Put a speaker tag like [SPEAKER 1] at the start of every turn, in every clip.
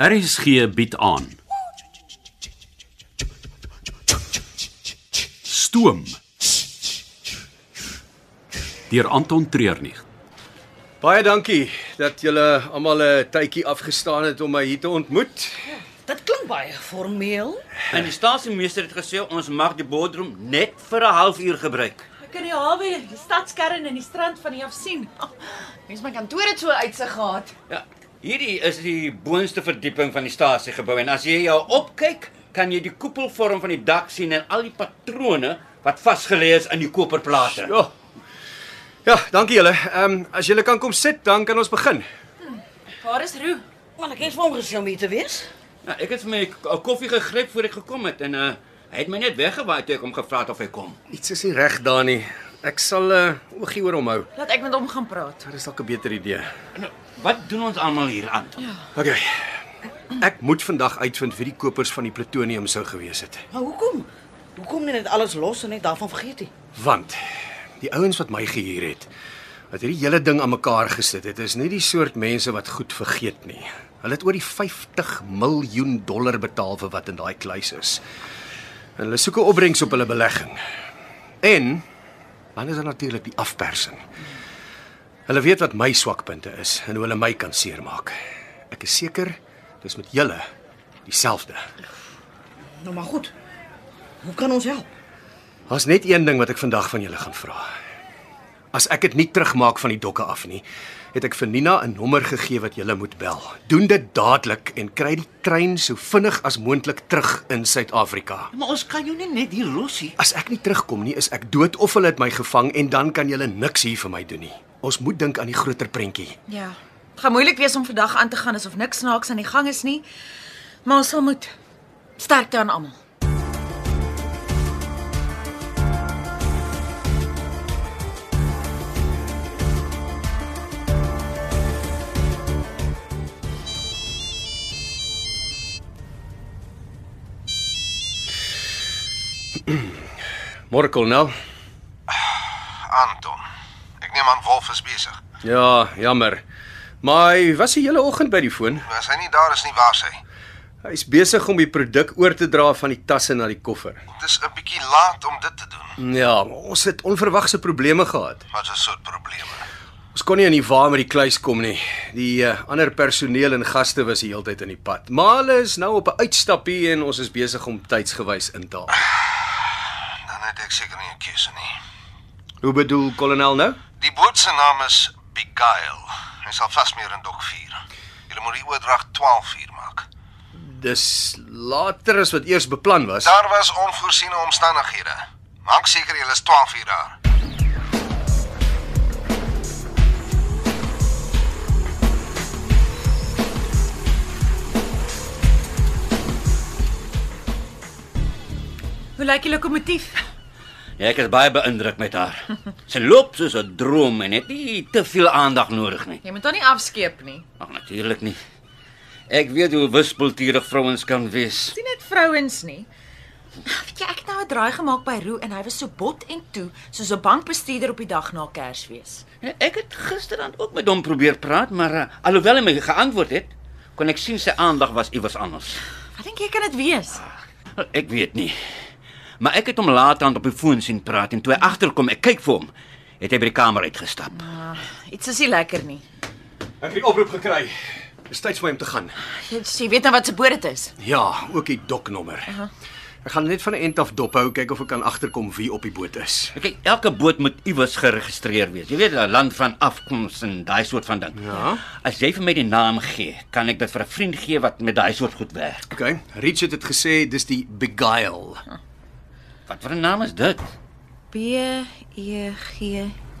[SPEAKER 1] RSG bied aan. Stoom. Deur Anton Treurnig.
[SPEAKER 2] Baie dankie dat julle almal 'n tydjie afgestaan het om my hier te ontmoet.
[SPEAKER 3] Dit klink baie formeel.
[SPEAKER 4] En die stasiemeester het gesê ons mag die boardroom net vir 'n halfuur gebruik.
[SPEAKER 5] Ek kan die hawe, die stadskern en die strand van hier af sien. Mens my kantoor het so uitsig gehad.
[SPEAKER 4] Ja, hierdie is die boonste verdieping van die stasiegebou en as jy jou opkyk, kan jy die koepelvorm van die dak sien en al die patrone wat vasgelê is in die koperplate.
[SPEAKER 2] Ja. Ja, dankie julle. Ehm um, as julle kan kom sit, dan kan ons begin.
[SPEAKER 5] Waar is Roo?
[SPEAKER 3] Maar ek het vir hom gesê om hier te wees.
[SPEAKER 4] Nou, ek het vir my k- 'n koffie gegryp voor ek gekom het en uh, hy het my net weggewaai toe ek hom gevra het of hy kom.
[SPEAKER 2] Iets is nie reg daar nie. Ek sal 'n uh, oogie oor hom hou.
[SPEAKER 5] Laat ek met hom gaan praat.
[SPEAKER 2] Daar is dalk 'n beter idee.
[SPEAKER 4] Nou, Wat doen ons almal hier aan? Ja.
[SPEAKER 2] OK. Ek moet vandag uitvind wie die kopers van die plutonium sou gewees het.
[SPEAKER 3] Maar hoekom? Hoekom net dit alles los en net daarvan vergeet hy?
[SPEAKER 2] Want die ouens wat my gehuur het, wat hierdie hele ding aan mekaar gesit het, is nie die soort mense wat goed vergeet nie. Hulle het oor die 50 miljoen dollar betaal vir wat in daai kluis is. En hulle soek 'n opbrengs op hulle belegging. En dan is daar natuurlik die afpersing. Hulle weet wat my swakpunte is en hoe hulle my kan seermaak. Ek is seker dis met julle dieselfde.
[SPEAKER 3] Nou maar goed. Hoe kan ons help?
[SPEAKER 2] Daar's net een ding wat ek vandag van julle gaan vra. As ek dit nie terugmaak van die dokke af nie, het ek vir Nina 'n nommer gegee wat julle moet bel. Doen dit dadelik en kry die trein so vinnig as moontlik terug in Suid-Afrika.
[SPEAKER 4] Maar ons kan jou nie net hier los nie.
[SPEAKER 2] As ek nie terugkom nie, is ek dood of hulle het my gevang en dan kan julle niks hier vir my doen nie. Ons moet dink aan die groter prentjie.
[SPEAKER 5] Ja. Dit gaan moeilik wees om vandag aan te gaan asof niks snaaks aan die gang is nie. Maar ons sal moet. Sterkte aan almal.
[SPEAKER 2] Môre kolonel.
[SPEAKER 6] Anton. Ek neem aan Wolf is besig.
[SPEAKER 2] Ja, jammer. Maar hy was die hele oggend by die foon.
[SPEAKER 6] Nou, As hy nie daar is nie, waar is hy?
[SPEAKER 2] Hy's besig om die produk oor te dra van die tasse na die koffer.
[SPEAKER 6] Dit is 'n bietjie laat om dit te doen.
[SPEAKER 2] Ja, maar ons het onverwagse probleme gehad.
[SPEAKER 6] Wat 'n soort probleme.
[SPEAKER 2] Ons kon nie in die wa met die kluis kom nie. Die uh, ander personeel en gaste was die heeltyd in die pad. Maar hulle is nou op 'n uitstappie en ons is besig om tydsgewys in te haal.
[SPEAKER 6] Dan het ek seker nie 'n keuse nie.
[SPEAKER 2] Hoe bedoel kolonel nou?
[SPEAKER 6] Die boot se naam is Beguile. Hy sal vasmeer in dok 4. Jy moet die oordrag 12 uur maak.
[SPEAKER 2] Dis later as wat eers beplan was.
[SPEAKER 6] Daar was onvoorsiene omstandighede. Maak seker jy is 12 uur daar.
[SPEAKER 5] Hoe lyk die lokomotief?
[SPEAKER 4] Ja, ek is baie beïndruk met haar. Sy loop soos 'n droom en het nie te veel aandag nodig nie.
[SPEAKER 5] Jy moet haar nie afskeep nie.
[SPEAKER 4] Ag natuurlik nie. Ek weet hoe wispelturig vrouens kan wees.
[SPEAKER 5] Sien dit vrouens nie. Weet jy ek het nou 'n draai gemaak by Roo en hy was so bot en toe soos 'n bankbestuurder op die dag na Kersfees.
[SPEAKER 4] Ja, Ek het gisterand ook met hom probeer praat, maar uh, alhoewel hy my geantwoord het, kon ek sien sy aandag was iewers anders.
[SPEAKER 5] Wat dink jy kan dit wees?
[SPEAKER 4] Wel, Ek weet nie. Maar ek het hom later aan op die foon sien praat en toe hy agterkom, ek kyk vir hom, het hy by die kamer uitgestap.
[SPEAKER 5] Iets is nie lekker nie.
[SPEAKER 2] Ek het die oproep gekry. Dis tyd vir my om te gaan.
[SPEAKER 5] Jy, jy weet nou wat se boord dit is.
[SPEAKER 2] Ja, ook die doknommer. Ek gaan net van 'n end af dop hou, kyk of ek kan agterkom wie op die boot is.
[SPEAKER 4] Kyk, elke boot moet iewers geregistreer wees. Jy weet, 'n land van afkoms en daai soort van ding. Ja. As jy vir my die naam gee, kan ek dit vir 'n vriend gee wat met daai soort goed werk.
[SPEAKER 2] OK. Richard het gesê dis die Beguile.
[SPEAKER 4] Wat vir 'n naam is dit?
[SPEAKER 5] B E G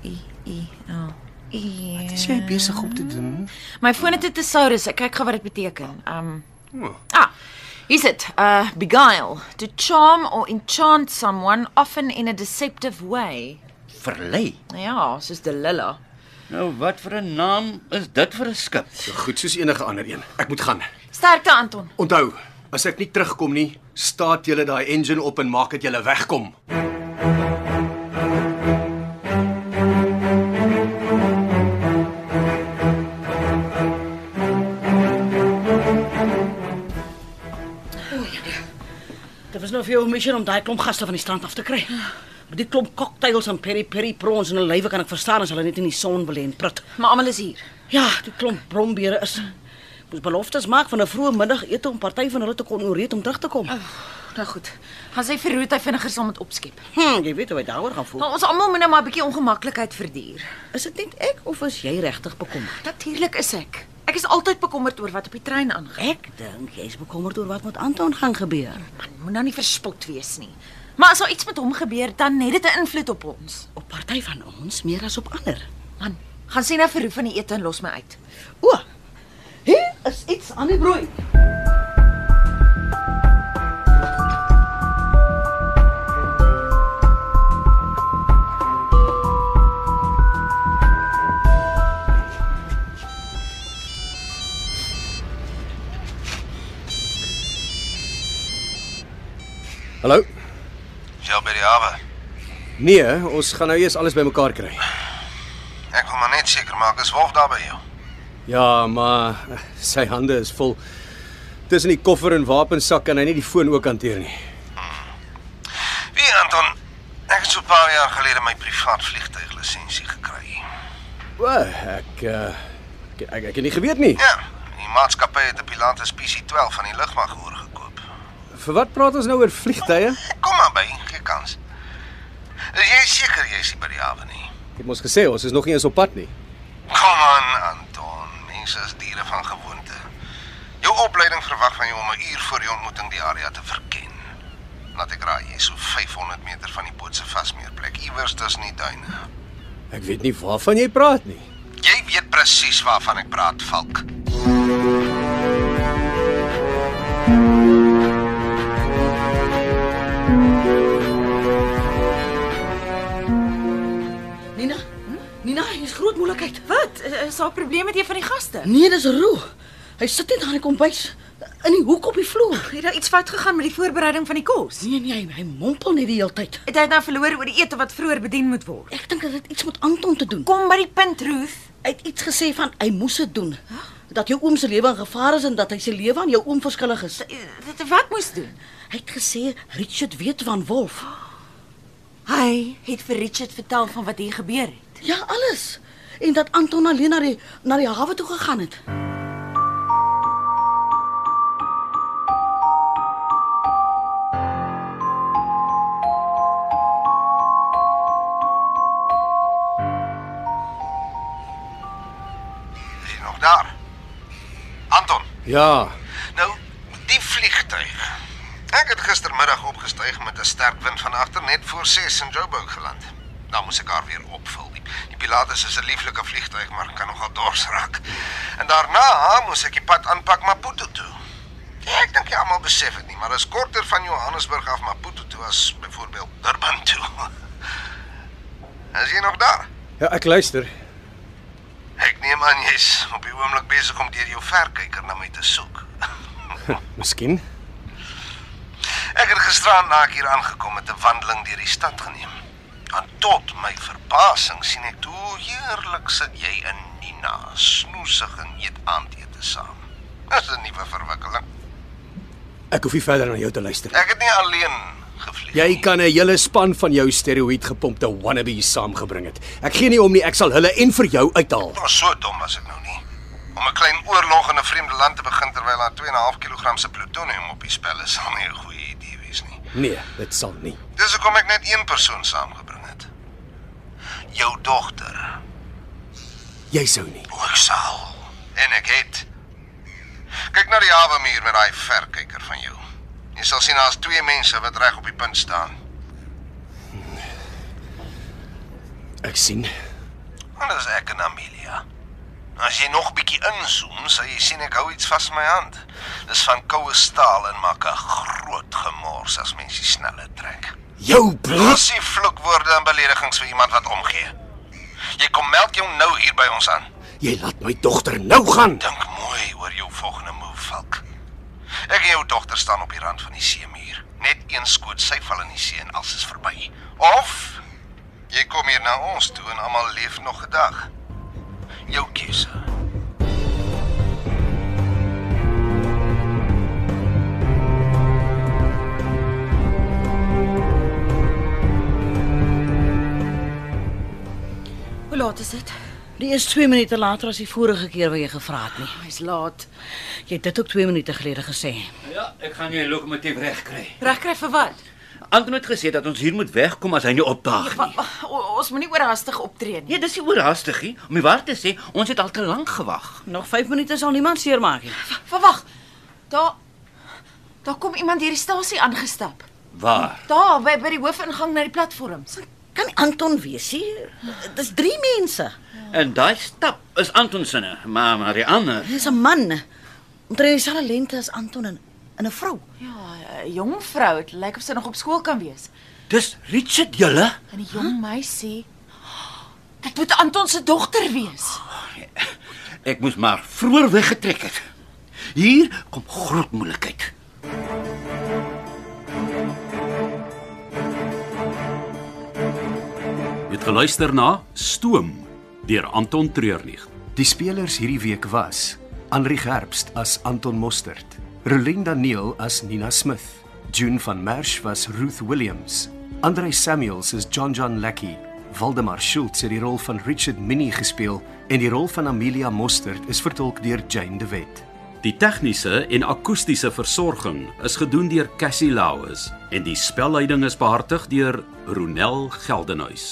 [SPEAKER 5] I I O. E.
[SPEAKER 2] Is jy besig om te doen?
[SPEAKER 5] My foon het 'n thesaurus. Ek kyk gou wat dit beteken. Um
[SPEAKER 2] Oh.
[SPEAKER 5] ah. Is it uh beguile to charm or enchant someone often in a deceptive way?
[SPEAKER 4] Verlei.
[SPEAKER 5] Ja, soos Delilla.
[SPEAKER 4] Nou, wat vir 'n naam is dit vir 'n skip?
[SPEAKER 2] So goed soos enige ander een. Ek moet gaan.
[SPEAKER 5] Sterkte Anton.
[SPEAKER 2] Onthou, as ek nie terugkom nie, staat julle daai engine op en maak dat julle wegkom.
[SPEAKER 3] was nou vir jou 'n missie om daai klomp gaste van die strand af te kry. Met die klomp cocktails en peri-peri prawns en 'n lywe kan ek verstaan as hulle net in die son wil lê en prut.
[SPEAKER 5] Maar almal is hier.
[SPEAKER 3] Ja, die klomp brombere is moes beloftes maak van 'n vroeë middagete om party van hulle te kon ooreet om terug te kom.
[SPEAKER 5] Nou goed. Gaan sy vir Roet hy vinniger saam met opskep.
[SPEAKER 3] Hm, jy weet hoe hy daaroor gaan voel.
[SPEAKER 5] Maar ons almal moet nou maar 'n bietjie ongemaklikheid verduur.
[SPEAKER 3] Is dit net ek of is jy regtig bekommerd?
[SPEAKER 5] Natuurlik is ek. Ek is altyd bekommerd oor wat op die trein aangaan.
[SPEAKER 3] Ek dink jy's bekommerd oor wat met Anton gaan gebeur.
[SPEAKER 5] Man, moet nou nie verspot wees nie. Maar as daar iets met hom gebeur, dan het dit 'n invloed op ons.
[SPEAKER 3] Op party van ons meer as op ander.
[SPEAKER 5] Man, gaan sien nou vir Roet van die ete en los my uit.
[SPEAKER 3] O. Hier is iets aan die broei.
[SPEAKER 2] Hallo?
[SPEAKER 6] Is jy al by die hawe?
[SPEAKER 2] Nee, ons gaan nou eers alles bymekaar kry.
[SPEAKER 6] Ek wil maar net seker maak is Wolf daar by jou.
[SPEAKER 2] Ja, maar sy hande is vol. Tussen die koffer en wapensak kan hy nie die foon ook hanteer nie.
[SPEAKER 6] Wie Anton? Ek het so 'n paar jaar gelede my privaat vliegtuiglisensie gekry.
[SPEAKER 2] O, ek uh ek ek, ek het nie geweet nie.
[SPEAKER 6] Ja, die maatskappy het 'n Pilatus PC12 van die lugmag oorgekoop.
[SPEAKER 2] Vir wat praat ons nou oor vliegtye?
[SPEAKER 6] Kom maar by, gee kans. Is jy seker jy's nie by die hawe nie?
[SPEAKER 2] Ek het mos gesê ons is nog nie eens op pad nie.
[SPEAKER 6] Kom aan, Anton. Mense is diere van gewoonte. Jou opleiding verwag van jou om 'n uur voor die ontmoeting die area te verken. Laat ek raai, jy's so 500 meter van die boot se vasmeerplek, iewers tussen die duine.
[SPEAKER 2] Ek weet nie waarvan jy praat nie.
[SPEAKER 6] Jy weet presies waarvan ek praat, Valk.
[SPEAKER 3] Nina, hm? Nina, hier's groot moeilikheid.
[SPEAKER 5] Wat? Eh, Is daar 'n probleem met een van die gaste?
[SPEAKER 3] Nee, dis Roo. Hy sit net daar in die kombuis in die hoek op die vloer.
[SPEAKER 5] Het daar iets fout gegaan met die voorbereiding van die kos?
[SPEAKER 3] Nee nee, hy, hy mompel net die hele tyd.
[SPEAKER 5] Het hy dit nou verloor oor die ete wat vroeër bedien moet word?
[SPEAKER 3] Ek dink dit het iets met Anton te doen.
[SPEAKER 5] Kom by die punt, Ruth.
[SPEAKER 3] Hy het iets gesê van hy moes dit doen. Dat jou oom se lewe in gevaar is en dat hy sy lewe aan jou oom verskillig is.
[SPEAKER 5] Dit Eh, wat moes doen?
[SPEAKER 3] Hy het gesê Richard weet van Wolf.
[SPEAKER 5] Hy het vir Richard vertel van wat hier gebeur het.
[SPEAKER 3] Ja, alles. En dat Anton alleen na die na die hawe toe gegaan het.
[SPEAKER 6] Is jy nog daar? Anton,
[SPEAKER 2] Ja,
[SPEAKER 6] nou die vliegtuig. Ek het gistermiddag opgestyg met 'n sterk wind van agter net voor 6 in Joburg geland. Dan moes ek haar weer opvul. Die, die Pilatus is 'n lieflike vliegtuig, maar kan nogal dors raak. En daarna moes ek die pad aanpak Maputo toe. Ja, Ek dink jy almal besef dit nie, maar is korter van Johannesburg af Maputo toe as byvoorbeeld Durban toe. As jy nog daar?
[SPEAKER 2] ja ek luister.
[SPEAKER 6] Ek neem aan jy's op die oomblik besig om deur jou verkyker na my te soek.
[SPEAKER 2] Miskien.
[SPEAKER 6] Ek het gisteraan na ek hier aangekom met 'n wandeling deur die stad geneem. En tot my verbasing sien ek hoe heerlik sit jy in Nina, snoesig en eet aandete saam. Dis 'n nuwe verwikkeling.
[SPEAKER 2] Ek hoef nie verder na jou te luister.
[SPEAKER 6] Ek het nie alleen gevlieg.
[SPEAKER 2] Jy
[SPEAKER 6] nie.
[SPEAKER 2] kan 'n hele span van jou steroïd gepompte wannabes saamgebring het. Ek gee nie om nie, ek sal hulle en vir jou uithaal.
[SPEAKER 6] Ek was so dom as ek nou nie om 'n klein oorlog in 'n vreemde land te begin terwyl daar 2.5 kg se plutonium op die spel is, sal nie 'n goeie idee wees nie.
[SPEAKER 2] Nee, dit sal nie.
[SPEAKER 6] Dis hoekom ek net een persoon saamgebring het. Jou dogter.
[SPEAKER 2] Jy sou nie.
[SPEAKER 6] Ek sal. En ek het. Kyk na die hawe muur met daai verkyker van jou. Jy sal sien daar's twee mense wat reg op die punt staan.
[SPEAKER 2] Ek sien.
[SPEAKER 6] Hulle is ek en Amelia. As jy nog bietjie inzoom, sal jy sien ek hou iets vas in my hand. Dis van koue staal en maak 'n groot gemors as mens die snelle trek.
[SPEAKER 2] Jou blus.
[SPEAKER 6] Losie vloekwoorde en beledigings vir iemand wat omgee. Jy kom meld jou nou hier by ons aan.
[SPEAKER 2] Jy laat my dogter nou gaan.
[SPEAKER 6] Dink mooi oor jou volgende move, Falk. Ek en jou dogter staan op die rand van die seemuur. Net een skoot, sy val in die see en alles is verby. Of jy kom hier na ons toe en almal leef nog 'n dag. Jou keuse.
[SPEAKER 5] laat is dit?
[SPEAKER 3] Die is 2 minute later as die vorige keer wat jy gevra het nie.
[SPEAKER 5] Hy's laat.
[SPEAKER 3] Jy het dit ook 2 minute gelede gesê.
[SPEAKER 4] Ja, ek gaan jou lokomotief regkry.
[SPEAKER 5] Regkry vir wat?
[SPEAKER 4] Anton het gesê dat ons hier moet wegkom as hy nie opdaag
[SPEAKER 5] Wa-
[SPEAKER 4] nie.
[SPEAKER 5] o- Ons moenie oorhaastig optree nie.
[SPEAKER 4] Nee, dis nie oorhaastig nie. Om die waar te sê, ons het al te lank gewag.
[SPEAKER 3] Nog 5 minute sal niemand seermaak nie.
[SPEAKER 5] Ja. Verwag. Daar daar kom iemand hierdie stasie aangestap.
[SPEAKER 4] Waar?
[SPEAKER 5] Daar by by die hoofingang na die platforms.
[SPEAKER 3] Kan nie Anton wees hier? Dis 3 mense.
[SPEAKER 4] En daai stap is Anton se, maar maar die ander.
[SPEAKER 3] Dis 'n man. Omtrent dieselfde lengte as Anton en en 'n vrou.
[SPEAKER 5] Ja, 'n jong vrou, dit lyk of sy nog op skool kan wees.
[SPEAKER 4] Dis Richard julle.
[SPEAKER 5] En die jong meisie Dit moet Anton se dogter wees.
[SPEAKER 4] Ek moes maar vroeër weggetrek het. Hier kom groot moeilikheid.
[SPEAKER 1] Jy het geluister na Stoom deur Anton Treurnig.
[SPEAKER 2] Die spelers hierdie week was: Anri Gerbst as Anton Mostert, Rolinda Neel as Nina Smith, June van Merch was Ruth Williams, Andre Samuels is John John Lackey, Waldemar Schultz het die rol van Richard Minnie gespeel en die rol van Amelia Mostert is vertolk deur Jane de Wet.
[SPEAKER 1] Die tegniese en akoestiese versorging is gedoen deur Cassie Lauis en die spelleiding is behartig deur Ronel Geldenhuys.